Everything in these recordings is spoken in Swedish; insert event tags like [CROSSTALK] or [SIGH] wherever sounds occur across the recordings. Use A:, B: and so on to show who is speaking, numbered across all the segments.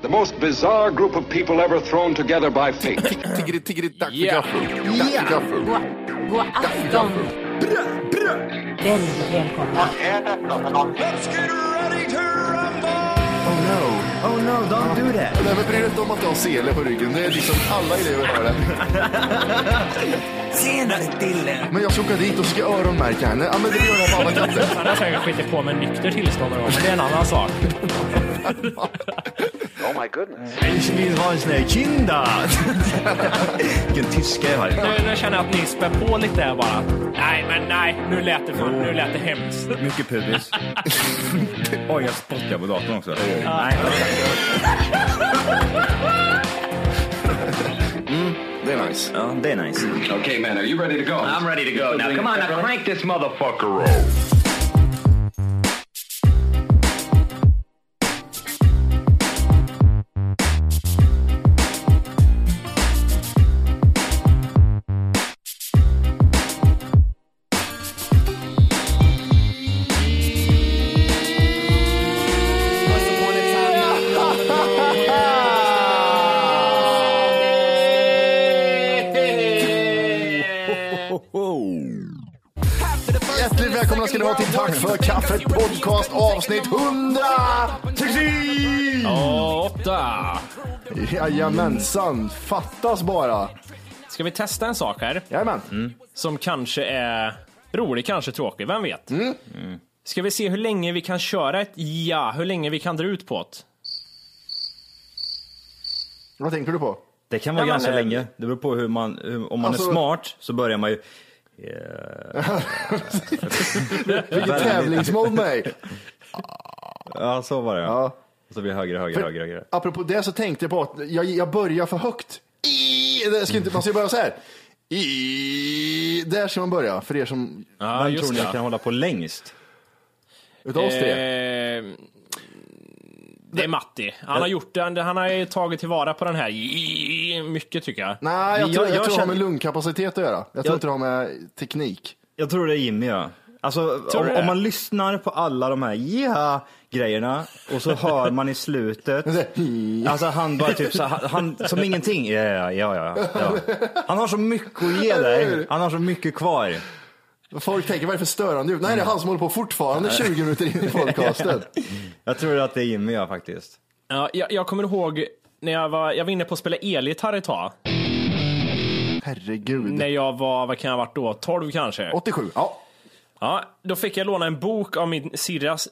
A: The most bizarre group of people ever thrown together by fate.
B: Tiggeri, tiggeri, dack för
C: Ja.
B: gaffel. Dack för gaffel.
D: God, god afton. Väldigt välkomna.
B: Oh no.
E: Oh no, don't do that.
B: Nej, men bry dig inte om att jag har sele på ryggen. Det är liksom alla elever har det.
E: Senare, Dille.
B: Men jag ska åka dit och ska öronmärka henne. Ja, men det gör jag på alla katter.
C: Han har säkert skitit på med nykter tillstånd och men det är en annan sak.
E: Ich vill ha en sån här kinda. Vilken tyska jag har.
C: Nu, nu känner jag att ni spär på lite här bara. Nej, men nej. Nu lät det, för, nu lät det hemskt.
F: Mycket pubis. Oj, jag spottar på datorn också. Nej.
B: Det är nice.
F: Ja, det är nice.
A: okay, man, are you ready to go?
G: I'm ready to go now. Come on, now crank this motherfucker up.
B: Hjärtligt välkomna ska ni vara till Tack för kaffet podcast avsnitt 100!
C: Åh, åtta.
B: Jajamensan, fattas bara.
C: Ska vi testa en sak här?
B: Jajamän.
C: Som kanske är rolig, kanske tråkig. Vem vet?
F: Mm.
C: Mm. Ska vi se hur länge vi kan köra ett ja, hur länge vi kan dra ut på det?
B: Vad tänker du på?
F: Det kan vara
C: Ja, men,
F: ganska
C: eh,
F: länge. Det beror på hur man... Hur, om man
B: Alltså-
F: är smart så börjar man ju...
B: Vilket tävlingsmode mig.
F: Ja, så var det.
B: Ja.
F: Och så blir det högre, högre, högre, högre.
B: Apropå det så tänkte jag på att jag, jag börjar för högt. I, det ska inte, man ska börja så här. I, där ska man börja, för er som...
C: Ja,
F: Vem tror ni
C: det.
F: kan hålla på längst?
B: Utav oss tre.
C: Eh, det är Matti. Han har gjort det. Han har ju tagit tillvara på den här mycket tycker jag.
B: Nej, jag,
F: jag-
B: tror, jag, tror
F: jag
B: det har
F: känner-
B: med lungkapacitet att göra. Jag tror
F: Jag-
B: inte det har med teknik. [LAUGHS]
F: Jag tror det är Jimmy, ja. Alltså,
C: Tror du
F: om,
C: det?
F: om man lyssnar på alla de här ja grejerna och så hör man i slutet,
B: [LAUGHS]
F: alltså han bara typ så här, han, som ingenting. Ja, ja, ja, ja, ja. Han har så mycket att ge dig. Han har så mycket kvar.
B: Folk tänker, vad är det för störande ljud? Nej, det är han som håller på fortfarande 20 minuter in i podcasten.
F: Jag tror att det är Jimmy, ja, faktiskt.
C: Ja, jag, jag kommer ihåg när jag var, jag var inne på att spela elgitarr ett tag.
B: Herregud.
C: När jag var, vad kan jag ha varit då, 12 kanske?
B: 87, ja.
C: Ja, då fick jag låna en bok av min sirras,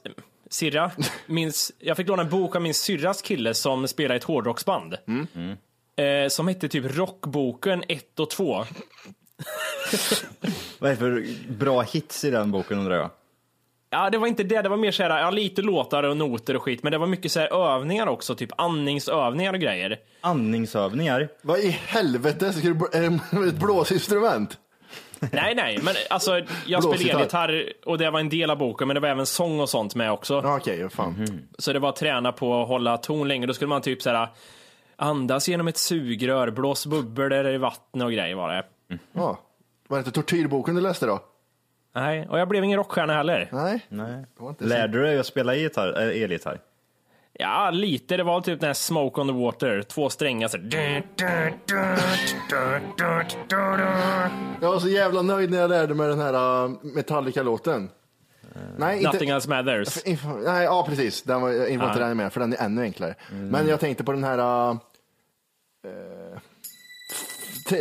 C: sirra, min, s- jag fick låna en bok av min syrras kille som spelar i ett hårdrocksband. Eh, som hette typ Rockboken 1 och 2.
F: Vad är det för bra hits i den boken undrar jag?
C: Ja, det var inte det. Det var mer så här, ja, lite låtar och noter och skit, men det var mycket så här övningar också, typ andningsövningar och grejer.
F: Andningsövningar.
B: Vad i helvete, ska du, bl- [LAUGHS] är det ett blåsinstrument?
C: Nej, nej, men alltså jag spelade
B: Blåsgitarr.
C: elgitarr och det var en del av boken, men det var även sång och sånt med också.
B: Ja, Okej, ja, fan.
C: Så det var att träna på att hålla ton länge. Då skulle man typ så här andas genom ett sugrör, blås bubblor där i vatten och grejer var det.
B: Ja. Var det inte tortyrboken du läste då?
C: Nej, och jag blev ingen rockstjärna heller.
B: Nej.
F: Nej.
B: var inte så-
F: Lärde du dig att spela gitarr, äh, elgitarr?
C: Ja, lite. Det var typ den här Smoke on the Water. Två strängar så här.
B: Jag var så jävla nöjd när jag lärde mig den här äh, Metallica-låten. Nej, inte...
C: Nothing else matters.
B: Inf- Nej, ja precis. Den var, jag var inte
C: Nej.
B: den med, för den är ännu enklare. Men jag tänkte på den här... Uh,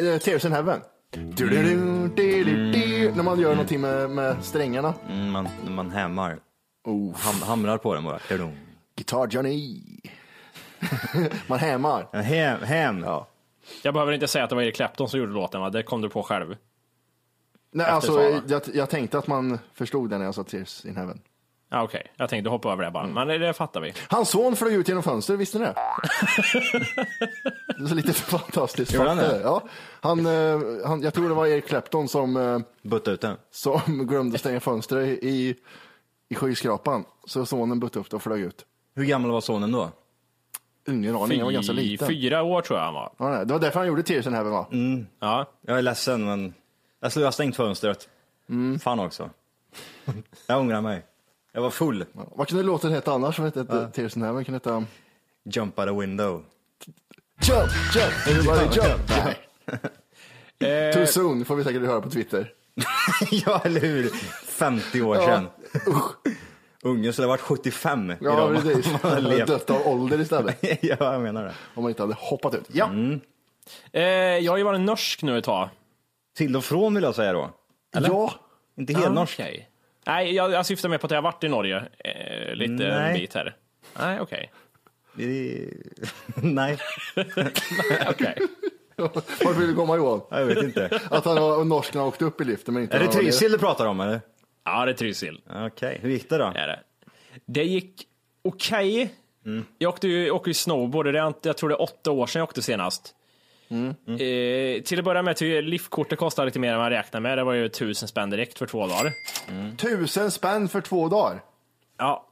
B: uh, Tears in Heaven. Du-du-du, du-du-du, När man gör någonting med, med strängarna.
F: Mm, Man, man hämmar.
B: Oh,
F: Ham, hamrar på den bara. Kadung.
B: Guitar Johnny. [LAUGHS] man hämmar.
F: Hem, hem. Ja.
C: Jag behöver inte säga att det var Eric Clapton som gjorde låten, va? Det kom du på själv.
B: Nej,
C: Efter
B: alltså,
C: Sara.
B: jag, jag tänkte att man förstod det när jag sa Tears in Heaven.
C: Ja, Okej, jag tänkte hoppa över det bara.
B: Mm.
C: Men det, det fattar vi.
B: Hans son flög ut genom fönstret, visste
F: [LAUGHS]
B: ni det? det är så lite fantastiskt.
F: Gjorde han det?
B: Fattar jag. Ja. Han, eh, han, jag tror det var Eric Clapton som... eh,
F: Butta ut den.
B: som [LAUGHS] glömde stänga fönstret i, i skyskrapan. Så sonen butt upp det och flög ut.
F: Hur gammal var sonen då?
B: Ingen aning, han var ganska
C: Fy-
B: liten.
C: Fyra år tror jag han var.
B: Ja, nej, det var därför han gjorde Tears in Heaven va?
F: Mm.
C: Ja.
F: Jag är ledsen men jag skulle ha stängt fönstret.
B: Mm.
F: Fan också. jag ångrar mig. Jag var full.
B: Vad kunde låten heta annars? Vet, ja. Tears in Heaven kunde heta...
F: Jump out a
B: [LAUGHS]
F: window.
B: Jump, jump, everybody jump.
F: [LAUGHS]
C: Eh,
B: Too soon får vi säkert höra på Twitter.
F: ja, eller hur? 50 år sedan.
B: Usch.
F: Ungen skulle ha varit 75
B: Ja,
F: idag.
B: precis.
F: [LAUGHS] Man
B: Han
F: har
B: hade
F: levt.
B: dött av ålder istället.
F: ja, jag menar det.
B: Om man inte hade hoppat ut. Mm. Ja,
C: eh, jag har ju varit norsk nu ett tag.
F: Till och från vill jag säga då.
B: ja.
F: Inte helt norsk.
C: Okej. Nej, jag, jag syftar mer på att jag har varit i Norge eh, lite
F: Nej.
C: en bit här. Nej, okej.
F: Det- [LAUGHS] Nej,
C: Okej.
B: Vart vill du komma Johan?
F: jag vet inte.
B: Att han och norsken har åkt upp i liften men inte
F: Är det
B: han har varit
F: Trysil du pratar om eller?
C: Ja, det är Trysil.
F: Okej, hur gick det då?
C: är det. Det gick okej. Jag åkte ju, åker ju snowboard, och det är, inte- jag tror det är åtta år sedan jag åkte senast. Eh, till att börja med, till liftkortet kostade lite mer än man räknade med. Det var ju tusen spänn direkt för två dagar.
B: nere. Tusen spänn för två dagar.
C: Ja,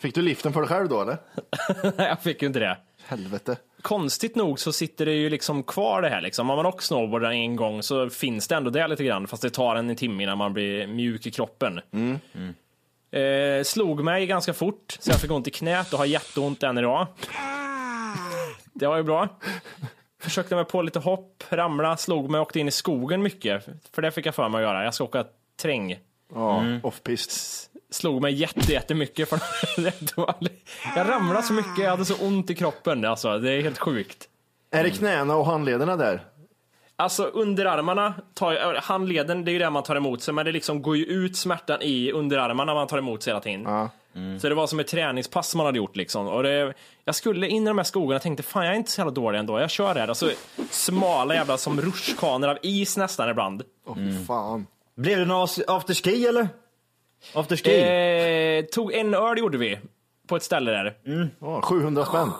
B: Fick du liften för dig själv då eller?
C: [LAUGHS] jag fick ju inte det.
B: Helvete.
C: Konstigt nog så sitter det ju liksom kvar det här liksom. Har man åkt snowboard en gång så finns det ändå det lite grann, fast det tar en timme innan man blir mjuk i kroppen. Eh, slog mig ganska fort, så jag fick ont i knät och har jätteont än idag. Det var ju bra. Försökte mig på lite hopp, ramla, slog mig, åkte in i skogen mycket. För det fick jag för mig att göra. Jag ska åka träng.
B: Ja,
F: Mm.
B: off-pist.
C: Slog mig jätte- jättemycket. För [LAUGHS] det var... Jag ramlade så mycket, jag hade så ont i kroppen. Alltså, det är helt sjukt.
B: Är det knäna och handlederna där?
C: Alltså underarmarna, tar, ju- handleden det är ju där man tar emot sig men det liksom går ju ut smärtan i underarmarna man tar emot sig hela tiden.
B: Ja.
F: Mm.
C: Så det var som ett träningspass man hade gjort liksom. Och det, jag skulle in i de här skogarna och tänkte fan jag är inte så jävla dålig ändå, jag kör det här. Alltså, smala jävla som rutschkanor av is nästan ibland.
B: Åh
F: Mm.
B: fy fan.
F: Blev det någon as- afterski eller? Afterski?
C: Eh, tog en öl gjorde vi på ett ställe där.
F: Mm.
B: Ja, 700 spänn.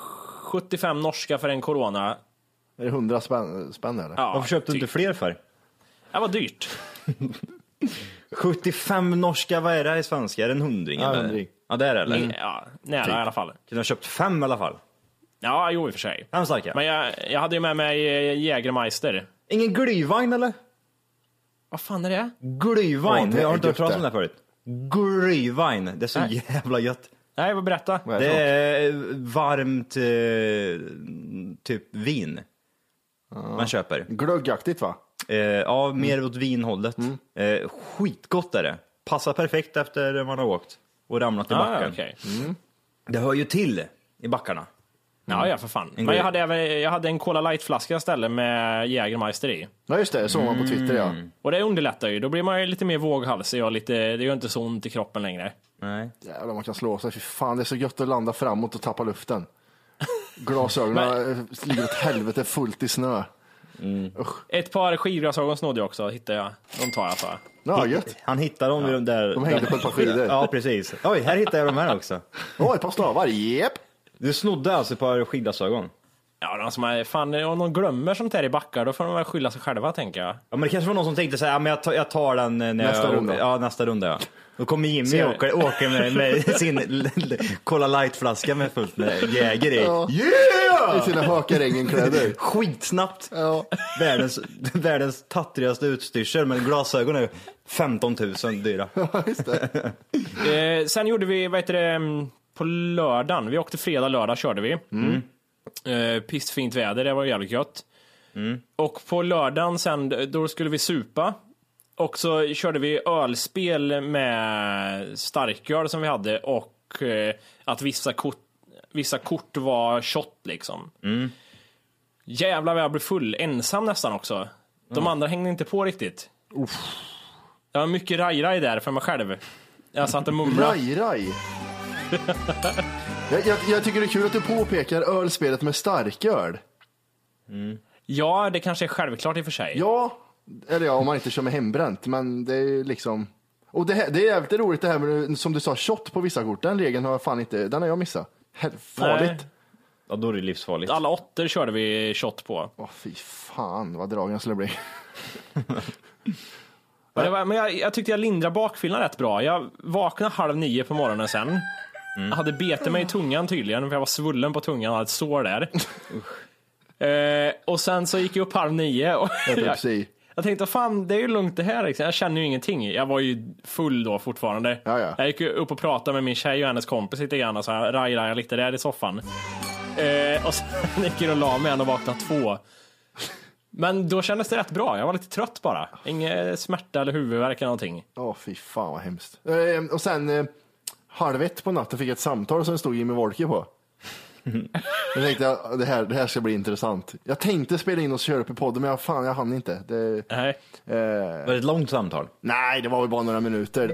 C: 75 norska för en corona.
B: Är det 100 spänn, spänn eller?
C: Ja,
F: Varför köpte du
C: typ.
F: inte fler för?
C: Det var dyrt.
F: 75 norska, vad är det här i svenska? Är det en hundring?
B: Ja,
F: eller?
B: hundring.
F: Ja, det är det eller?
C: Ja, nära
F: Typ.
C: i alla fall.
F: Kunde ha köpt fem i alla fall.
C: Ja, jo i och för sig.
F: Fem starka.
C: Men jag, jag hade ju med mig eh, Jägermeister.
F: Ingen glyvagn eller?
C: Vad fan är det?
F: Glyvagn?
B: Ja, det
F: jag har
B: är
F: inte hört
B: gött
F: talas om det
B: det.
F: här förut. Glyvagn, det är så
C: Nej.
F: jävla gött.
C: Nej, vad berätta.
B: Vad
F: Det
B: är det
F: är eh, varmt eh, typ vin man köper.
B: för något? Glöggaktigt va?
F: Eh, ja,
B: Mm.
F: mer åt vinhållet. Eh, skitgott är det. Passar perfekt efter man har åkt och ramlat i backen. Mm.
C: Ah, okej.
F: Det hör ju till i backarna.
C: Ja, ja, för fan.
F: En
C: Men
F: grej.
C: jag hade, även, jag hade en Cola Light-flaska istället med Jägermeister i.
B: Ja just det, det såg man på Twitter ja.
F: Mm.
C: Och det underlättar ju. Då blir man ju lite mer våghalsig och lite, det gör inte så ont i kroppen längre.
F: Nej.
B: Jävlar man kan slå sig. Fy fan det är så gött att landa framåt och tappa luften.
F: [LAUGHS]
B: Glasögonen eh, ligger åt helvete fullt i snö.
F: Mm.
C: Ett par skidglasögon snodde jag också, hittade jag. De tar jag för.
B: Ja, gött.
F: Han hittar dem i de där...
B: De hängde på ett par skidor.
F: Ja, precis. Oj, här hittar jag de här också.
B: Åh, ett par stavar. Jep.
F: Du snodde alltså ett par skidglasögon?
C: Ja, de som är, fan, om de glömmer sånt här i backar, då får de väl skylla sig själva, tänker jag.
F: Ja, men det kanske var någon som tänkte så här, ja, men jag tar, jag tar den eh, när
B: Nästa
F: jag,
B: runda.
F: Ja, nästa runda ja. Då kommer Jimmy
C: Ser
F: och
C: du?
F: åker, åker med, med sin [LAUGHS] Cola Light-flaska med
B: [LAUGHS]
F: fullt med Jäger i.
B: I sina hökarängenkläder.
F: Skitsnabbt!
B: Ja.
F: Världens, världens tattrigaste utstyrsel, men glasögon är 15 000 dyra.
B: Just det.
C: Eh, sen gjorde vi, vad heter det, mm, på lördagen. Vi åkte fredag, lördag körde vi. Eh, pissfint väder, det var jävligt gött.
B: Mm.
C: Och på lördagen sen, då skulle vi supa. Och så körde vi ölspel med starköl som vi hade och eh, att vissa kort, vissa kort var shot liksom.
B: Mm.
C: Jävlar vad jag blev full, ensam nästan också. De
B: Mm.
C: andra hängde inte på riktigt. Det var mycket raj-raj där för mig själv. Jag satt och mumlade.
B: Raj, raj. Jag, jag, jag tycker det är kul att du påpekar ölspelet med starköl.
C: Ja, det kanske är självklart i och för sig.
B: Ja, eller ja, om man inte kör med hembränt, men det är ju liksom... Och det, här, det är jävligt roligt det här med, som du sa, shot på vissa kort. Den regeln har jag fan inte, den har jag missat. Hel- Farligt.
F: Ja, då är det livsfarligt.
C: Alla åttor körde vi shot på.
B: Åh fy fan vad dragen jag skulle bli.
C: Men, det var, men jag, jag tyckte jag lindrade bakfyllan rätt bra. Jag vaknade halv nio på morgonen sen. Jag hade bete mig i tungan tydligen, för jag var svullen på tungan och hade ett sår där. eh, och sen så gick jag upp halv nio och [LAUGHS] jag,
B: Epilepsi.
C: jag tänkte, fan det är ju lugnt det här liksom. Jag känner ju ingenting. Jag var ju full då fortfarande.
B: Ja, ja.
C: Jag gick ju upp och pratade med min tjej och hennes kompis lite grann och så här, rajrajade lite där i soffan. Eh, och sen [LAUGHS] gick jag och la mig igen och vaknade två. Men då kändes det rätt bra. Jag var lite trött bara. Ingen smärta eller huvudvärk eller någonting.
B: Åh, fy fan vad hemskt. Eh, och sen eh, halv ett på natten fick jag ett samtal som det stod Jimmy Wolke på. jag tänkte ah, det här, det här ska bli intressant. Jag tänkte spela in och köra upp i podden, men jag, fan, jag hann inte. Det,
C: Nej.
F: Var det ett långt samtal?
B: nej, det var väl bara några minuter.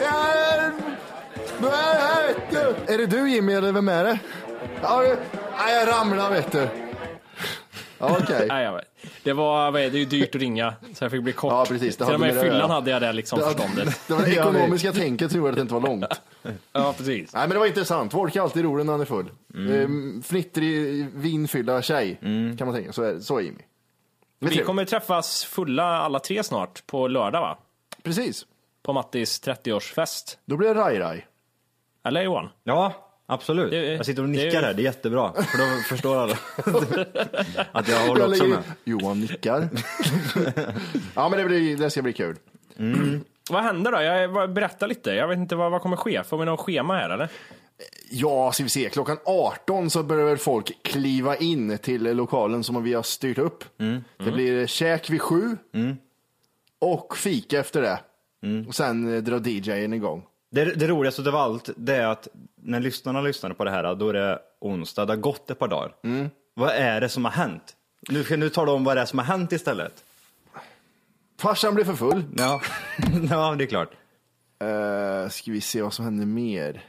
B: Hjälp! Vad är det här, vet du? Är det du Jimmy eller vem är det? Ja, det- Nej, jag ramlade vet du. Ja, Okej.
C: Nej, jag vet. Det var, vad är det, det är ju dyrt att ringa, så jag fick bli kort.
B: Ja, precis, det
C: Till och
B: hade
C: med i
B: med det att
C: fyllan
B: göra.
C: hade jag det liksom förståndet.
B: [LAUGHS] Det var det ekonomiska tänket som gjorde att det inte var långt.
C: Ja, precis.
B: Nej men det var intressant, Wolk är alltid rolig när han är full. Ehm, fnittrig, vinfyllda tjej, kan man tänka. Så är, så är Jimmy. Det är
C: Vi
B: trevligt.
C: kommer träffas fulla alla tre snart, på lördag va?
B: Precis,
C: På Mattis 30-årsfest.
B: då blir det raj-raj.
C: Eller Johan?
F: Ja, absolut.
C: Det-
F: jag sitter och
C: det-
F: nickar här, det är jättebra. För då förstår alla [LAUGHS] att jag håller
B: Jag
F: också
B: lägger-
F: med.
B: Johan [LAUGHS] nickar. ja men det, blir, det ska bli kul.
C: Vad händer då? Jag, vad- berätta lite. Jag vet inte vad, vad kommer ske. Får vi något schema här eller?
B: Ja, ska vi se. Klockan 18 så börjar väl folk kliva in till lokalen som vi har styrt upp. Det blir käk vid sju och fika efter det. Och sen eh, drar DJn igång.
F: Det, det roligaste av allt det är att när lyssnarna lyssnade på det här, då är det onsdag, det har gått ett par dagar. Vad är det som har hänt? Nu ska du tala om vad det är som har hänt istället.
B: Farsan blir för full.
F: Ja, [LAUGHS] ja det är klart.
B: Uh, ska vi se vad som händer mer.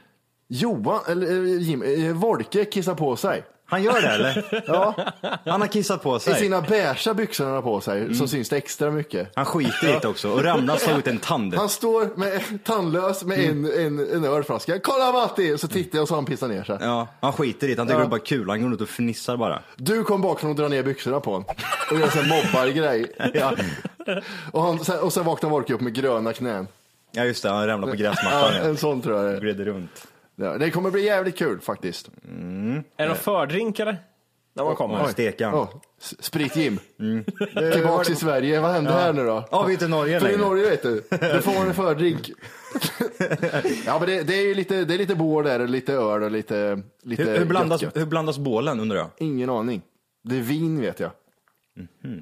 B: Johan, eller eh, Jim, eh, Wolke kissar på sig.
F: Han gör det [LAUGHS] eller?
B: Ja,
F: Han har kissat på
B: i
F: sig.
B: sina beiga byxor han har på sig
F: Mm.
B: så syns det extra mycket.
F: Han skiter i det också och ramlar och slår ut en tand.
B: Han står med, tandlös med
F: Mm.
B: en, en, en ölflaska. Kolla Matti! Så tittar jag och så han pissar ner sig.
F: Ja, han skiter i det. Han tycker
B: Ja.
F: det är bara kul. Han går ut och fnissar bara.
B: Du kom bakifrån och drar ner byxorna på honom. Och gör en sån här mobbargrej.
F: [LAUGHS] Ja,
B: [LAUGHS] Och, han, sen- och sen vaknar Wolke upp med gröna knän.
F: ja just det. Han ramlar på
B: Ja,
F: gräsmattan.
B: en sån tror jag det
F: Ja.
B: är.
F: Gled runt.
B: Ja, Det kommer bli jävligt kul faktiskt.
C: Är det någon fördrink eller? När man kommer?
F: Oj. Stekan.
B: Oh, Sprit-Jim. Tillbaks till Sverige. Vad hände här nu då?
F: Mm. Ja, vi är inte i Norge
B: För i
F: längre.
B: Norge vet du, då får man
F: [LAUGHS]
B: en fördrink. [LAUGHS] ja men det, det är ju lite, det är lite bår där och lite öl och lite, lite
F: Hur, hur, blandas,
B: gött, gött.
F: hur blandas bålen undrar jag?
B: Ingen aning. Det är vin vet jag.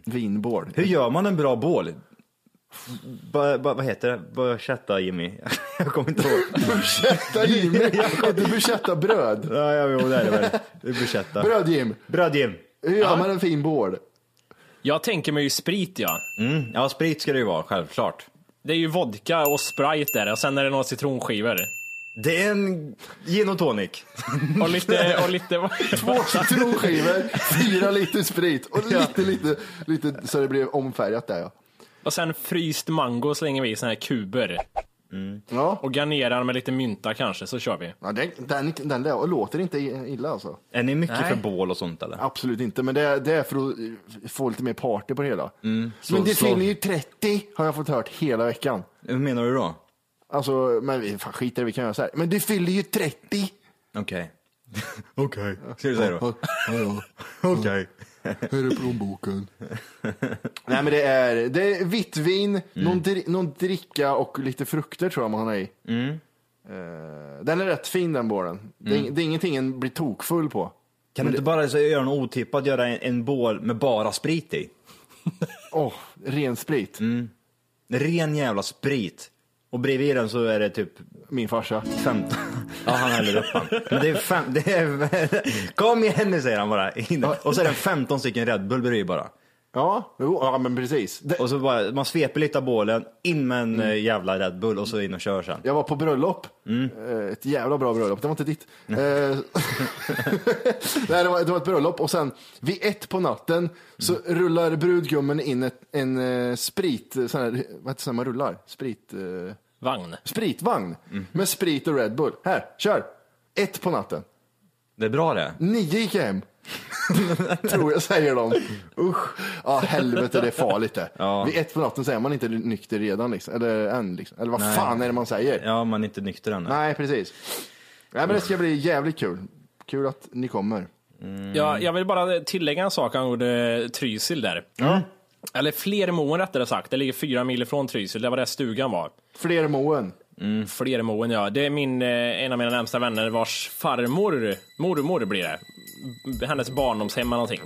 B: Vinbål.
F: Mhm.
B: [LAUGHS]
F: Hur gör man en bra bål? Ba, ba, vad heter det? Bruschetta Jimmy? [LAUGHS] jag kommer inte ihåg.
B: Bruschetta Jim,
F: [LAUGHS]
B: inte bruschetta bröd.
F: ja, ja, jo, det är det väl. Det är Bruschetta.
B: Bröd Jim,
F: Bröd Jim.
B: hur gör man en fin bål?
C: Jag tänker mig ju sprit ja.
F: Mm, ja, sprit ska det ju vara, självklart.
C: Det är ju vodka och sprite där och sen är det några citronskivor.
F: Det är en gin och tonic.
C: Och lite, och lite... [LAUGHS]
B: Två citronskivor, fyra liter sprit och lite, lite, lite så det blev omfärgat där ja.
C: Och sen fryst mango slänger vi i såna här kuber.
B: Ja,
C: Och garnerar med lite mynta kanske, så kör vi.
B: ja den, den, den låter inte illa alltså.
F: Är ni mycket
C: Nej.
F: för bål och sånt eller?
B: Absolut inte, men det är, det är för att eh, få lite mer party på det hela. men det
F: Mm. så-
B: fyller ju 30 har jag fått hört hela veckan.
F: Hur menar du då?
B: Alltså, men vi- fan, skit i det, vi kan göra så här. Men det fyller ju 30!
F: Okej. Okej. Ska du säga
B: [LAUGHS]
F: då? Okej.
B: Här är
F: [LAUGHS]
B: plånboken. Nej men det är, det är vitt vin,
F: Mm.
B: någon, dri, någon dricka och lite frukter tror jag man har i.
F: Mm.
B: Eh, den är rätt fin den bålen. Det, är- det är ingenting en blir tokfull på.
F: Kan du inte bara så, göra något otippat, göra en, en bål med bara sprit i?
B: Åh, oh, ren sprit.
F: Mm. Ren jävla sprit. Och bredvid den så är det typ
B: Min farsa.
F: 15. [LAUGHS] Ja, han häller upp han. Men det är fem, det är, [LAUGHS] Kom igen nu säger han bara. Innan. Och så är det 15 stycken Red Bull bredvid bara.
B: Ja, jo, ja men precis. Det,
F: Och så bara, man sveper lite av bålen, in med en eh, jävla Red Bull och så in och kör sen.
B: Jag var på bröllop.
F: Mm.
B: Eh, Ett jävla bra bröllop. Det var inte ditt. Eh, [LAUGHS] Nej, det, var, det var ett bröllop och sen vid ett på natten så
F: Mm.
B: rullar brudgummen in ett, en eh, sprit, eh, sån här, vad heter det man rullar? Sprit, eh,
C: Vagn.
B: spritvagn
F: Mm.
B: med sprit och Red Bull. Här, kör! Ett på natten.
F: Det är bra det.
B: Nio gick jag
F: [LAUGHS]
B: hem. Tror jag säger de. Usch. Ja, helvete det är farligt det.
F: Ja.
B: Vid ett på natten så är man inte nykter redan liksom. Eller än liksom. Eller vad
F: Nej.
B: fan är det man säger?
F: Ja, man är inte nykter än.
B: Nej, precis. Nej, men det ska bli jävligt kul. Kul att ni kommer.
C: Jag, jag vill bara tillägga en sak angående Trysil där. Eller Flermoen rättare sagt, det ligger fyra mil ifrån Trysil, där var där stugan var.
B: Fler Moen.
C: Fler Moen, ja. Det är min, eh, en av mina närmsta vänner vars farmor, mormor blir det, B- hennes barndomshem eller någonting.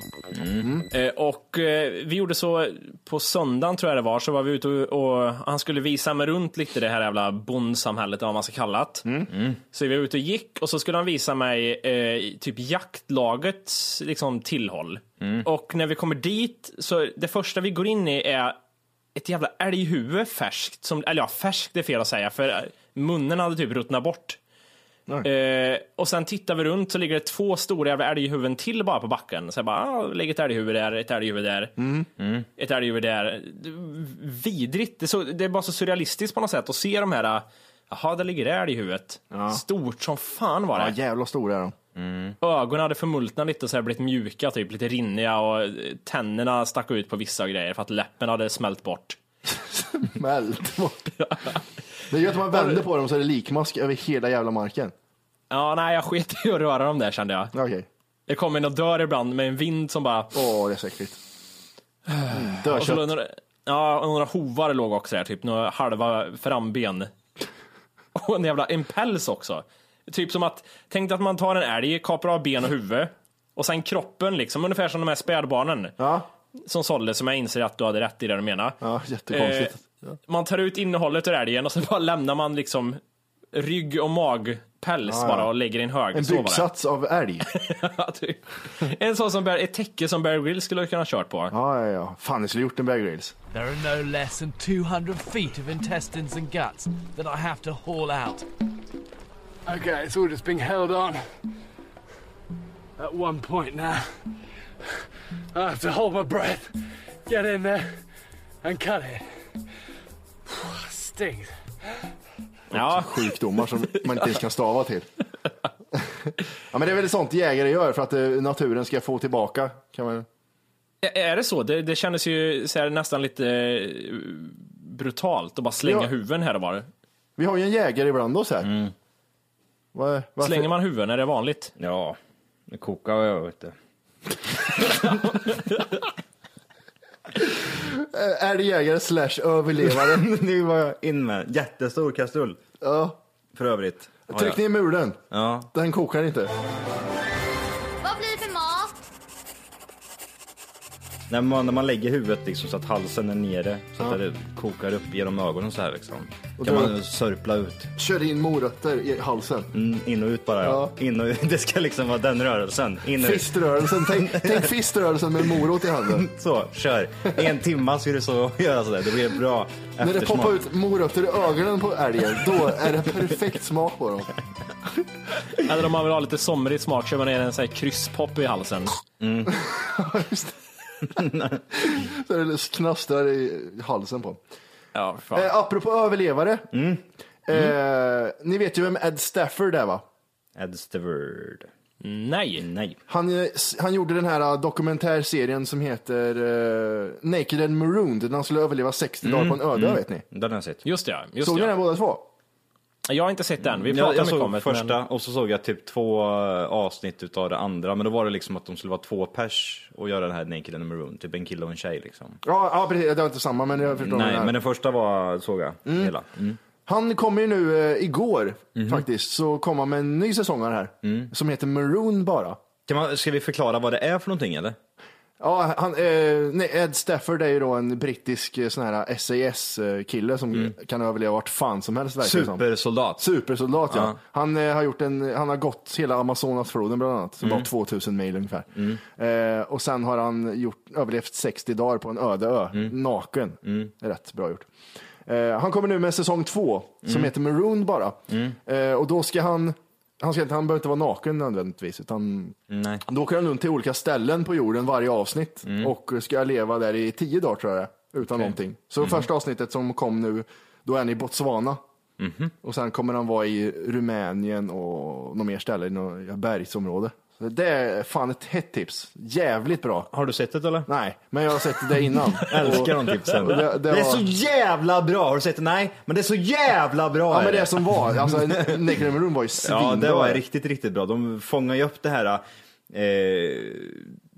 C: Eh, Och eh, vi gjorde så, på söndagen tror jag det var, så var vi ute och, och han skulle visa mig runt lite det här jävla bondsamhället, eller vad man ska kalla det. Så vi var ute och gick och så skulle han visa mig eh, typ jaktlagets liksom, tillhåll. Och när vi kommer dit, så det första vi går in i är ett jävla älghuvud färskt, som, eller ja färskt är fel att säga för munnen hade typ ruttnat bort. Eh, och sen tittar vi runt så ligger det två stora jävla älghuvuden till bara på backen. Så jag bara, ah, lägg ett älghuvud där, ett älghuvud där, ett älghuvud där. Det- Vidrigt, det är, så, det är bara så surrealistiskt på något sätt att se de här, jaha där ligger det älghuvudet. Stort som fan var det.
B: Ja, jävla stora är
C: [LAUGHS]
B: de.
C: Ögonen hade förmultnat lite och så här blivit mjuka, typ lite rinniga och eh, tänderna stack ut på vissa grejer för att läppen hade smält bort.
B: Smält bort. Det är ju att man vänder på dem så är det likmask över hela jävla marken.
C: Ja, nej, jag sket i att röra dem där kände jag.
B: Okej.
C: Det kommer en och dör ibland med en vind som bara...
B: Åh, det är så äckligt. Mm,
C: Och så
B: Dödkött.
C: låg några, ja, och några hovar låg också där, typ några halva framben. [LAUGHS] Och en jävla en päls också. Typ som att, tänk dig att man tar en älg, kapar av ben och huvud. Och sen kroppen liksom, ungefär som de här spädbarnen.
B: Ja,
C: Som sålde, som jag inser att du hade rätt i det du menar.
B: ja jättekonstigt.
C: Eh, man tar ut innehållet ur älgen och så bara lämnar man liksom rygg och magpäls bara och lägger i en hög.
B: en
C: Så var det.
B: byggsats av älg.
C: [LAUGHS] Ja, typ. en sån som Bear, ett täcke som Bear Grylls skulle ha kunnat kört på.
B: Ja, ja, ja. Fan, jag skulle gjort en Bear Grylls.
H: There are no less than 200 feet of intestines and guts that I have to haul out.
I: Okay, it's all just being held on at one point now. I have to hold my breath, get in there, and cut it. [SIGHS] Stings.
C: Ja,
B: Sjukdomar som man inte ens kan stava
C: [LAUGHS]
B: till. Ja, men det är väl sånt jägare gör för att eh, naturen ska få tillbaka. Kan man...
C: Ä- är det så? Det, det kändes ju så här, nästan lite eh, brutalt att bara slänga
B: Ja.
C: huvuden här och var.
B: Vi har ju en jägare bland oss här. Va- varför-
C: Slänger man huvuden är det vanligt.
F: Ja, nu kokar jag vet du.
B: Är det jägare slash
F: [LAUGHS]
B: överlevare?
F: nu var jag in med jättestor kastrull
B: ja.
F: för övrigt. Har
B: Tryck
F: jag.
B: ner muren.
F: Ja.
B: Den kokar inte.
J: Vad blir det för mat?
F: När man, när man lägger huvudet liksom så att halsen är nere så att det kokar upp genom ögonen så här liksom. kan
B: då-
F: man sörpla ut.
B: Kör in morötter i halsen.
F: Mm, in och ut bara ja. In och ut. [LAUGHS] Det ska liksom vara den rörelsen. In och ut.
B: Fiströrelsen. Tänk, tänk fiströrelsen med morot i handen.
F: Så, kör. En timma ska du så [LAUGHS] göra sådär. Det blir en bra
B: När det
F: eftersmak.
B: poppar ut morötter i ögonen på älgen, då är det perfekt smak på dem.
C: Eller om man vill ha lite somrig smak kör man ner en sån här krysspop i halsen.
B: [LAUGHS] Så det knastrar i halsen på dem.
C: Ja, fan.
B: Eh, apropå överlevare. Eh, ni vet ju vem Ed Stafford är va?
F: Ed Steward.
C: Nej.
F: Nej.
B: Han, eh, s- han gjorde den här eh, dokumentärserien som heter eh, Naked and Marooned, när han skulle överleva 60 dagar
F: Mm,
B: på en öde vet ni.
F: Den har jag sett.
C: Just det, just
B: Såg ni
C: det.
B: den båda två?
C: Jag har inte sett den. Vi
F: Jag,
C: pratade
F: jag
C: mycket
F: såg
C: om det. men-
F: första och så såg jag typ två eh, avsnitt utav det andra. Men då var det liksom att de skulle vara två pers och göra den här Naked and Maroon. Typ en kille och en tjej liksom.
B: Ja, ja precis, det var inte samma men jag förstår vad ni
F: Nej,
B: menar.
F: men den första var, såg jag hela. Mm.
B: Han kom ju nu eh, igår
F: Mhm.
B: faktiskt, så kom han med en ny säsong av det här.
F: Mm.
B: Som heter Maroon bara.
F: Kan man, ska vi förklara vad det är för någonting eller?
B: Ja, han, eh, nej, Ed Stafford är ju då en brittisk eh, sån här SAS-kille eh, som
F: Mm.
B: kan överleva vart fan som helst. verkar det som.
F: Supersoldat.
B: Supersoldat ja. Han, eh, har gjort en, han har gått hela Amazonasfloden bland annat, så bara 2000 mil ungefär. Eh, och sen har han gjort, överlevt 60 dagar på en öde ö, naken. Rätt bra gjort. Eh, han kommer nu med säsong två, som heter Maroon bara. Eh, och då ska han, han, ska, inte- han behöver inte vara naken nödvändigtvis, utan
F: Nej.
B: då åker han runt till olika ställen på jorden varje avsnitt och ska leva där i tio dagar tror jag det är, utan någonting. Så första avsnittet som kom nu, då är han i Botswana. Och sen kommer han vara i Rumänien och något mer ställe, i något bergsområde. Så det är fan ett hett tips. Jävligt bra.
F: Har du sett det eller?
B: Nej, men jag har sett det innan.
F: Älskar
B: Och-
F: de tipsen.
B: och
F: Det,
B: Det, det, var,
F: är så jävla bra! Har du sett det? Nej, men det är så jävla bra!
B: Ja
F: är
B: men det som var, alltså Naked and Maroon var ju svinbra.
F: Ja, det var riktigt, riktigt bra. De fångar ju upp det här eh,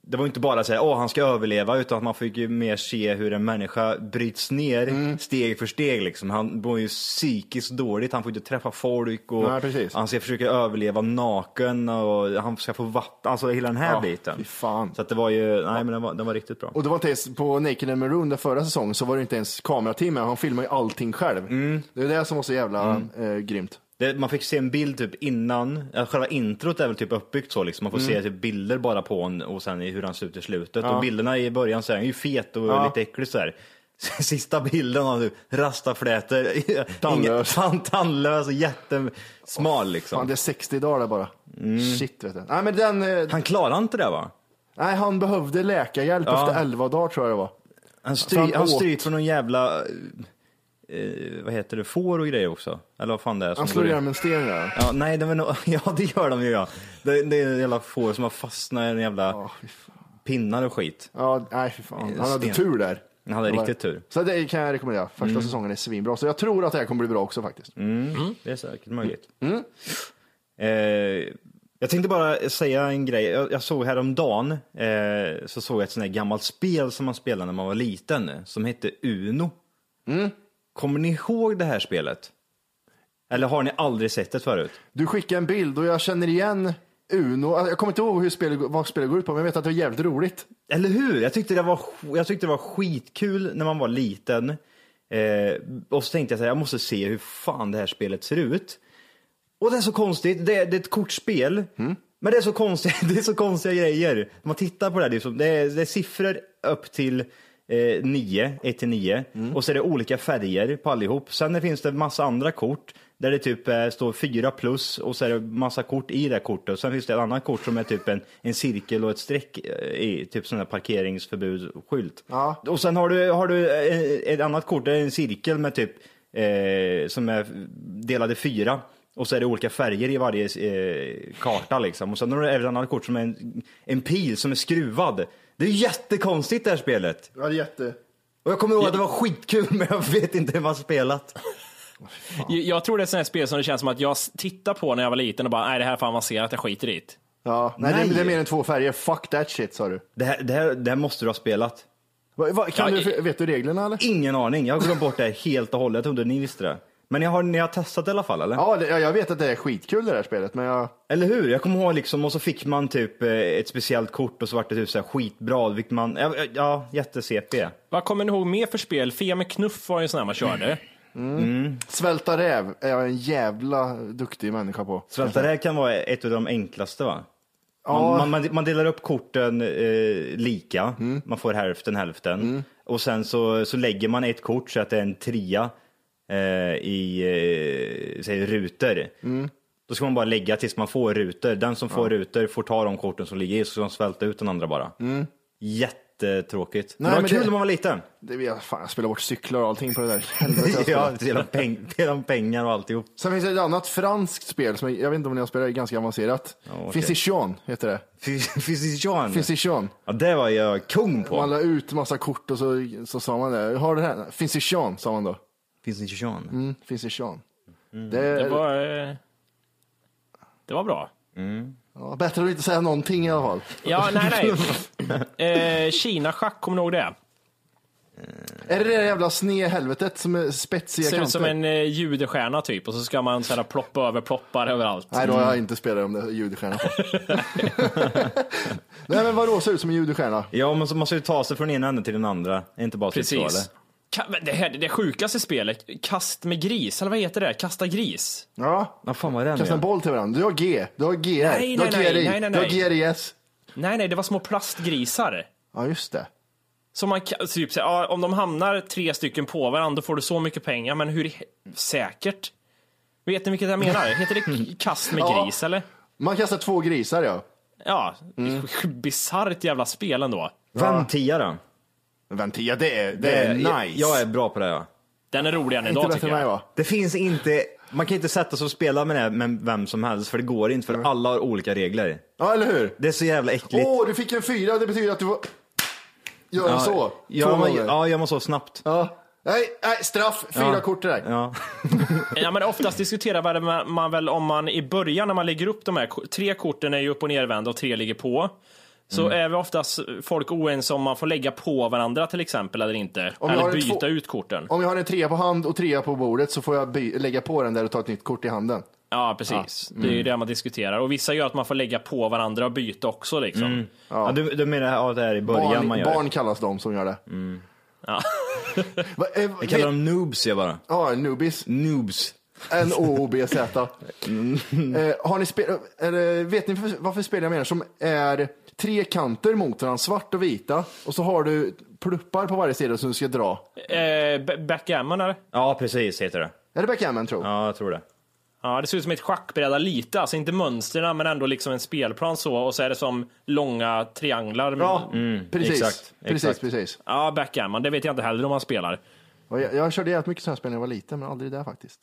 F: det var ju inte bara så här, åh han ska överleva, utan att man fick ju mer se hur en människa bryts ner
B: Mm.
F: steg för steg liksom. Han mår ju psykiskt dåligt, han får inte träffa folk och
B: Nej, precis.
F: han ska försöka överleva naken och han ska få vatten, alltså hela den här
B: Ja,
F: biten.
B: fy fan.
F: Så att det var ju, nej men den var, den var riktigt bra.
B: Och det var inte ens, på Naked and Maroon där förra säsongen så var det inte ens kamerateam med, han filmade ju allting själv.
F: Mm.
B: Det är det som var så jävla eh, grymt.
F: Det, man fick se en bild typ innan, ja, själva introt är väl typ uppbyggt så liksom. Man
B: Mm.
F: får se typ bilder bara på honom och sen i hur han ser ut i slutet. Och bilderna i början så är han ju fet och lite äcklig så här. [LAUGHS] Sista bilden av typ rastaflätor, [LAUGHS]
B: Tandlös.
F: Ingen- tan- tandlös och jättesmal liksom.
B: Fan, det är 60 dagar där bara.
F: Mm.
B: Shit vet du. Nej, men den, eh,
F: Han klarar inte det va?
B: nej, han behövde läkarhjälp
F: Ja.
B: efter 11 dagar tror jag det var.
F: Han
B: han
F: stryker han
B: åt-
F: stryk från någon jävla, eh, vad heter det, får och grejer också? Eller vad fan det är som
B: Han slår
F: går i-
B: ihjäl med en sten där.
F: Ja, nej, de är nog, [LAUGHS] ja det gör de ju ja. Det, det är en jävla får som har fastnat i en jävla pinnar och skit.
B: Ja, nej fy fan. Han hade
F: Sten.
B: tur där.
F: Han hade riktigt tur. Mm.
B: Så det kan jag rekommendera. Första säsongen är svinbra. Så jag tror att det här kommer bli bra också faktiskt.
F: Det är säkert möjligt. Mm. Eh, jag tänkte bara säga en grej. Jag, jag såg häromdagen, eh, så såg jag ett sånt här gammalt spel som man spelade när man var liten, som hette Uno. Kommer ni ihåg det här spelet? Eller har ni aldrig sett det förut?
B: Du skickade en bild och jag känner igen Uno. Alltså, Jag kommer inte ihåg hur spelet, vad spelet går ut på, men jag vet att det var jävligt roligt.
F: Eller hur? Jag tyckte det var, jag tyckte det var skitkul när man var liten. Eh, och så tänkte jag så här, jag måste se hur fan det här spelet ser ut. Och det är så konstigt, det är, det är ett kortspel. Men det är, så konstigt, det är så konstiga [LAUGHS] grejer. Om man tittar på det här, det är, som- det är, det är siffror upp till eh, 9, 1 till 9. Och så är det olika färger på allihop. Sen det finns det massa andra kort där det typ eh, står 4 plus och så är det massa kort i det här kortet. Och sen finns det ett annat kort som är typ en, en cirkel och ett streck eh, i, typ sån här parkeringsförbudsskylt.
B: Ja.
F: Och sen har du, har du eh, ett annat kort, det är en cirkel med typ, eh, som är delad i fyra. Och så är det olika färger i varje eh, karta liksom. Och sen har du även ett annat kort som är en, en pil som är skruvad. Det är jättekonstigt det här spelet.
B: Ja, det är jätte...
F: Och jag kommer ihåg att det var skitkul [LAUGHS] men jag vet inte hur man spelat.
C: Jag, jag tror det är ett sånt här spel som det känns som att jag s- tittar på när jag var liten och bara, nej det här är för avancerat, jag skiter i det.
B: Ja, nej,
F: Nej.
B: Det, det är mer än två färger. Fuck that shit sa du.
F: Det här, det här, det här måste du ha spelat.
B: Va, va, kan
C: Ja,
B: du
C: i-
B: vet du reglerna eller?
F: Ingen aning, jag har glömt bort det här helt och hållet. Jag trodde ni visste det. Men ni har, ni har testat i alla fall eller?
B: Ja, det, ja, jag vet att det är skitkul det där spelet, men jag...
F: Eller hur? Jag kommer ihåg liksom, och så fick man typ eh, ett speciellt kort och så vart det typ så här skitbra. Vilket man, ja, ja, ja jätte-CP.
C: Vad kommer ni ihåg mer för spel? Fia med knuff var ju en sån här man körde.
B: Svälta räv är jag en jävla duktig människa på.
F: Svälta räv kan vara ett av de enklaste va?
B: Ja.
F: Man, man, man, man delar upp korten eh, lika,
B: Mm.
F: man får hälften hälften. Och sen så, så lägger man ett kort så att det är en trea eh, i eh, säg, rutor.
B: Mm.
F: Då ska man bara lägga tills man får rutor. Den som får rutor får ta de korten som ligger i, så ska de svälta ut den andra bara. Jättetråkigt.
B: Mm. Nej,
F: men det var
B: men
F: kul
B: det-
F: när man var liten.
B: Det, jag, fan, jag spelar bort cyklar och allting på det där. Helvete, jag spelar.
F: ja, dela peng, dela pengar och alltihop.
B: Sen finns det ett annat franskt spel som jag, jag vet inte om ni har spelat, det är ganska avancerat.
F: okej.
B: Physician heter det.
F: Physician.
B: Physician.
F: Ja, det var jag kung
B: Man
F: på.
B: la ut massa kort och så, så sa man det. Har det här? Physician sa man då.
F: Physician.
B: Mm, Physician. Det,
C: Det var, eh, det var bra.
B: ja, bättre att inte säga någonting i alla fall.
C: Ja, nej nej. Eh, Kina schack, kommer ni ihåg det?
B: Är det det där jävla snehelvetet som är spetsiga
C: Ser
B: kanter?
C: ut som en eh, judestjärna typ och så ska man såhär ploppa över ploppar överallt.
B: Nej, då har jag inte spelat om det är
C: [LAUGHS]
B: judestjärna. Nej, men vadå ser ut som en judestjärna?
F: Ja, men så måste du ta sig från ena änden till den andra. Är Inte bara typ så, eller?
C: Precis. Ka- men Det här det sjukaste spelet, kast med gris, eller vad heter det? Kasta gris?
B: Ja,
F: Ja, fan vad är det nu?
B: kasta en boll till varandra. Du har G, du har GR,
C: Nej,
B: du har
C: nej, nej,
B: GRI,
C: nej, nej,
B: du har
C: nej.
B: GRIS.
C: Nej, nej, det var små plastgrisar.
B: Ja, just det.
C: Som man ka- typ så här, ja, om de hamnar tre stycken på varandra då får du så mycket pengar, men hur i he- säkert? Vet ni vilket jag menar? Heter det k- kast med
B: Ja.
C: gris eller?
B: Man kastar två grisar ja.
C: Ja, bisarrt jävla spel ändå.
F: Vantia då? Eh,
B: Men Vänta, ja, det är, det är
F: jag-
B: nice.
F: Jag är bra på det ja.
C: Den är roligare än
B: inte
C: idag
B: bättre
C: tycker
B: än mig
C: jag.
B: va?
F: Det finns inte, man kan inte sätta sig och spela med det här med vem som helst för det går inte för alla har olika regler.
B: Ja, eller hur?
F: Det är så jävla äckligt.
B: Mm. Åh, du fick en fyra, det betyder att du får göra
F: ja,
B: så. Två
F: Ja, man,
B: gånger.
F: ja, gör man så snabbt.
B: Ja. Nej, nej, straff, fyra
F: Ja.
B: kort till dig.
F: Ja.
C: Ja, men oftast diskuterar väl man- man väl om man i början när man lägger upp de här ko- tre korten är ju upp och nervända och tre ligger på. så
B: Mm.
C: är vi oftast folk oense om man får lägga på varandra till exempel eller inte.
B: Om jag
C: eller
B: har en
C: byta
B: två-
C: ut korten.
B: Om jag har en trea på hand och trea på bordet så får jag by- lägga på den där och ta ett nytt kort i handen.
C: Ja, precis. Det
B: Mm.
C: är ju det man diskuterar. Och vissa gör att man får lägga på varandra och byta också liksom.
B: Mm.
F: Ja, du, du menar ja, det här i början
B: Barn,
F: man gör
B: barn kallas de som gör det.
C: Ja.
B: [LAUGHS] Va, eh,
F: det. Jag kallar dem noobs jag bara.
B: Ja, nubis.
F: Noobs.
B: N-O-O-B-Z.
F: Mm.
B: eh, har ni spel- eller, vet ni för- varför spelar jag med den? Som är tre kanter mot varandra, svart och vita. Och så har du pluppar på varje sida som du ska dra.
C: Eh, ba- backgammon eller?
F: Ja, precis heter det.
B: Är det backgammon tror
F: Ja, jag tror det.
C: Ja, det ser ut som ett schackbräda lite, alltså inte mönstren men ändå liksom en spelplan så och så är det som långa trianglar. Mm.
B: Ja, precis.
F: exakt,
B: precis,
F: exakt.
B: precis.
C: Ja, backgammon, det vet jag inte heller om man spelar.
B: Och jag, jag körde jävligt mycket sådana här spel när jag var liten, men aldrig där faktiskt.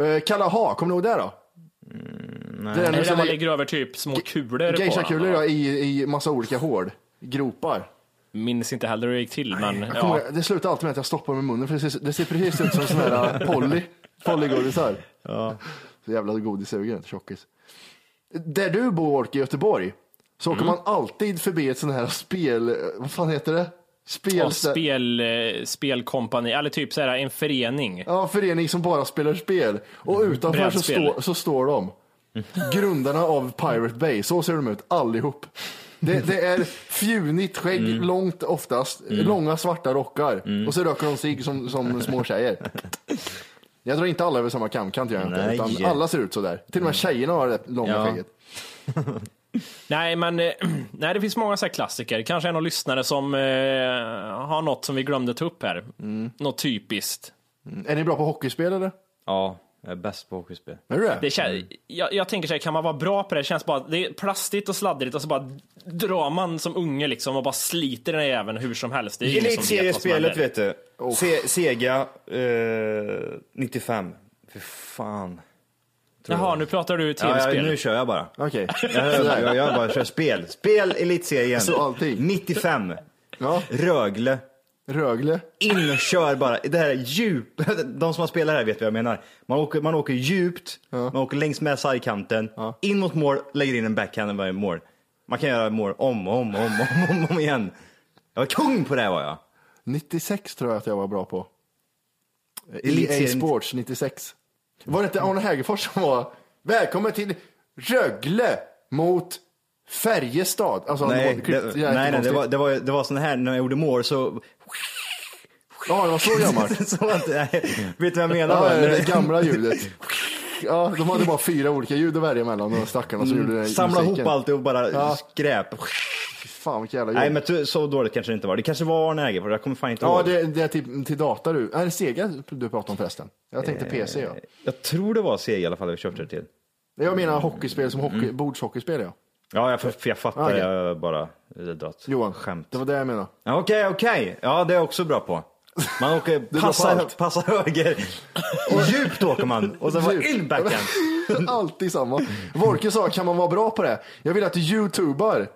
B: Eh, Kalla ha, kommer du ihåg det då? Mm, nej. Det är
C: Är det där man
B: den
C: lägger över typ små kulor på?
B: Geisha-kulor
C: varandra?
B: ja, i, i massa olika hål, gropar.
C: Minns inte heller hur det gick till, men
B: Jag
C: ja.
B: kommer, Det slutar alltid med att jag stoppar med munnen för det ser, det ser precis ut som sådana här eh, Polly, Pollygodisar. Ja. Så jävla godissugen, tjockis. Där du bor, Ork, i Göteborg, så åker man alltid förbi ett sånt här spel, eh, vad fan heter det? Spel,
C: Och spel, eh, spelkompani, eller typ så här en förening.
B: Ja, förening som bara spelar spel. Och utanför så,
C: Brädspel.
B: stå, så står de. Grundarna av Pirate Bay, så ser de ut allihop. Det, det är fjunigt skägg, långt oftast, långa svarta rockar. Och så röker de cigg som, som små tjejer. Jag drar inte alla över samma kamkant, gör jag inte,
F: Nej.
B: utan alla ser ut sådär. Till och med tjejerna har det långa
F: Ja.
B: skägget.
C: Nej, men eh, [CLEARS THROAT] nej, det finns många så här klassiker. Kanske är någon lyssnare som eh, har något som vi glömde ta upp här. Något typiskt.
B: Är ni bra på hockeyspel eller?
F: Ja, jag är bäst på hockeyspel.
B: Är du det?
C: Det kän- jag, jag tänker så här, kan man vara bra på det? Det känns bara, det är plastigt och sladdrigt och så bara drar man som unge liksom och bara sliter den även hur som helst. Det är ingen som vet vad som händer.
F: Elitseriespelet vet du. Se, Sega eh, 95. Fy fan.
C: Jaha, nu pratar du
F: Ja,
C: tv-spel.
F: ja, nu kör jag bara.
B: Okej.
F: Jag,
B: Sådär.
F: jag, jag bara kör spel. Spel elitserien.
B: Så allting.
F: 95.
B: Ja.
F: Rögle.
B: Rögle.
F: In och kör bara. Det här är djup. [LAUGHS] De som har spelat här vet vad jag menar. Man åker, man åker djupt, man åker längs med sargkanten, in mot mål, lägger in en backhand i varje mål. Man kan göra mål om och om och om, om, om, om igen. Jag var kung på det här var jag.
B: 96 tror jag att jag var bra på. EA
F: Elitserien-
B: Sports 96. Var det inte Arne Hägerfors som var välkommen till Rögle mot Färjestad? Alltså,
F: Nej,
B: det,
F: det,
B: var,
F: nej, nej det, var, det, var, det var sån här, när jag gjorde mål så... [LAUGHS]
B: Ja, det var så gammalt.
F: så var det, nej, vet du vad jag menar?
B: Ja,
F: va?
B: det, det gamla ljudet. Ja, de hade bara fyra olika ljud att välja mellan, de stackarna som gjorde det i
F: Mm. [LAUGHS] Samla ihop
B: musiken.
F: allt och bara
B: Ja.
F: skräp.
B: Fy Fan vilket jävla
F: Nej
B: jobb.
F: men ty- så dåligt kanske det inte var. Det kanske var Arne Egerfors, jag kommer fan inte
B: Ja,
F: ihåg.
B: det, det är till, till data du. Är det Sega du pratar om förresten? Jag tänkte
F: Eh,
B: PC ja.
F: Jag tror det var Sega i alla fall vi köpte det till.
B: Jag menar hockeyspel som hockey,
F: mm.
B: bordshockeyspel ja.
F: Ja, jag, för jag fattar.
B: Ah, okej.
F: Jag bara det dratt.
B: Johan,
F: Skämt.
B: det var det jag menade.
F: Ja, Okej, okej. Ja, det är jag också bra på. Man
B: [LAUGHS]
F: åker,
B: på
F: passa,
B: allt.
F: passa
B: [LAUGHS]
F: höger. Och djupt åker man. Och sen var
B: Djupt. [LAUGHS]
F: in backhand.
B: Alltid samma. Volke sa, kan man vara bra på det? Jag vill att du youtubar. Eh,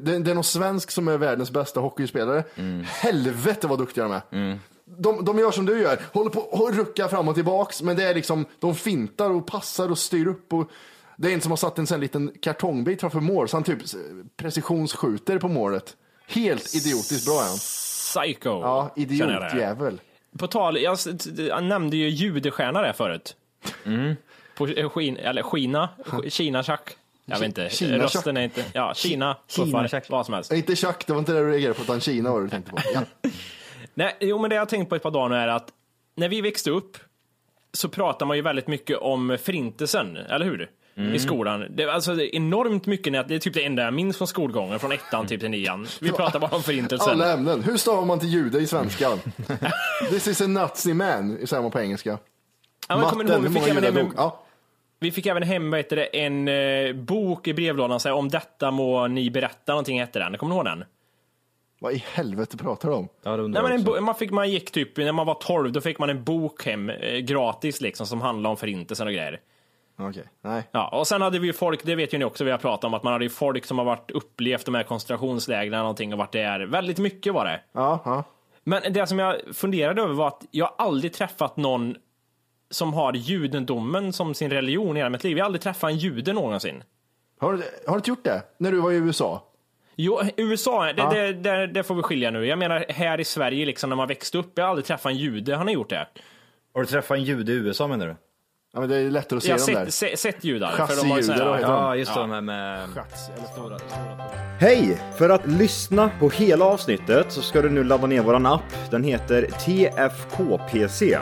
B: det, det är någon svensk som är världens bästa hockeyspelare. Helvete vad duktiga de är. De, de gör som du gör, håller på och ruckar fram och tillbaks, men det är liksom, de fintar och passar och styr upp. Och, det är en som har satt en sån liten kartongbit framför mål, så han typ precisionsskjuter på målet. Helt idiotiskt bra är han.
C: Psycho.
B: Ja,
C: känner jag det.
B: idiotjävel.
C: På tal, jag, s- t- jag nämnde ju judestjärna där förut.
B: Mm.
C: På eh, skin, eller skina, kina tjack. Jag vet inte,
B: Kina-tjack.
C: rösten är inte... Ja, Kina,
F: Kina-tjack.
C: puffar, vad som helst.
B: Inte Chuck, det var inte det du reagerade på, utan Kina var det du tänkte på. Ja.
C: Nej, jo, men det jag har tänkt på ett par dagar nu är att när vi växte upp så pratar man ju väldigt mycket om förintelsen, eller hur?
B: Mm.
C: I skolan. Det var alltså enormt mycket, nät- det är typ det enda jag minns från skolgången, från ettan typ till nian. Vi pratar bara om förintelsen.
B: Alla ämnen. Hur stavar man till jude i
C: [LAUGHS]
B: svenskan? This is a Nazi man, säger man på engelska.
C: Ja, men kommer ni ihåg,
B: hur
C: vi
B: många
C: fick även
B: judar
C: hem
B: dog?
C: en,
B: Ja.
C: vi fick även hem vad heter det, en eh, bok i brevlådan, så här, om detta må ni berätta någonting hette den. Kommer ni ihåg den?
B: Vad i helvete pratar de om?
F: Ja, det undrar
C: Nej, men
F: jag
C: en
F: också.
C: bo- man, fick, man gick typ, när man var 12, då fick man en bok hem eh, gratis liksom som handlade om förintelsen och grejer.
B: Okej, nej.
C: Ja, och sen hade vi ju folk, det vet ju ni också, vi har pratat om, att man hade ju folk som har varit upplevt de här koncentrationslägren och någonting och varit där. Väldigt mycket var det.
B: Ja, ja.
C: Men det som jag funderade över var att jag aldrig träffat någon som har judendomen som sin religion i hela mitt liv. Jag har aldrig träffat en jude någonsin.
B: Har, du, har du inte gjort det? När du var i USA?
C: Jo, USA, det, det, det, det får vi skilja nu. Jag menar här i Sverige, liksom, när man växte upp, jag har aldrig träffat en jude, har ni gjort det?
F: Har du träffat en jude i USA menar du?
B: Ja, men det är lättare att se
C: Jag har
B: dem där.
C: sett, sett, sett judar.
B: Chassijuder, vad heter de?
F: Ja, just det, de här med...
E: Hej! För att lyssna på hela avsnittet så ska du nu ladda ner våran app. Den heter TFKPC.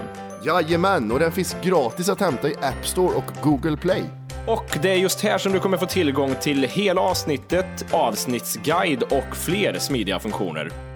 B: Jajamän, och den finns gratis att hämta i App Store och Google Play.
C: Och det är just här som du kommer få tillgång till hela avsnittet, avsnittsguide och fler smidiga funktioner.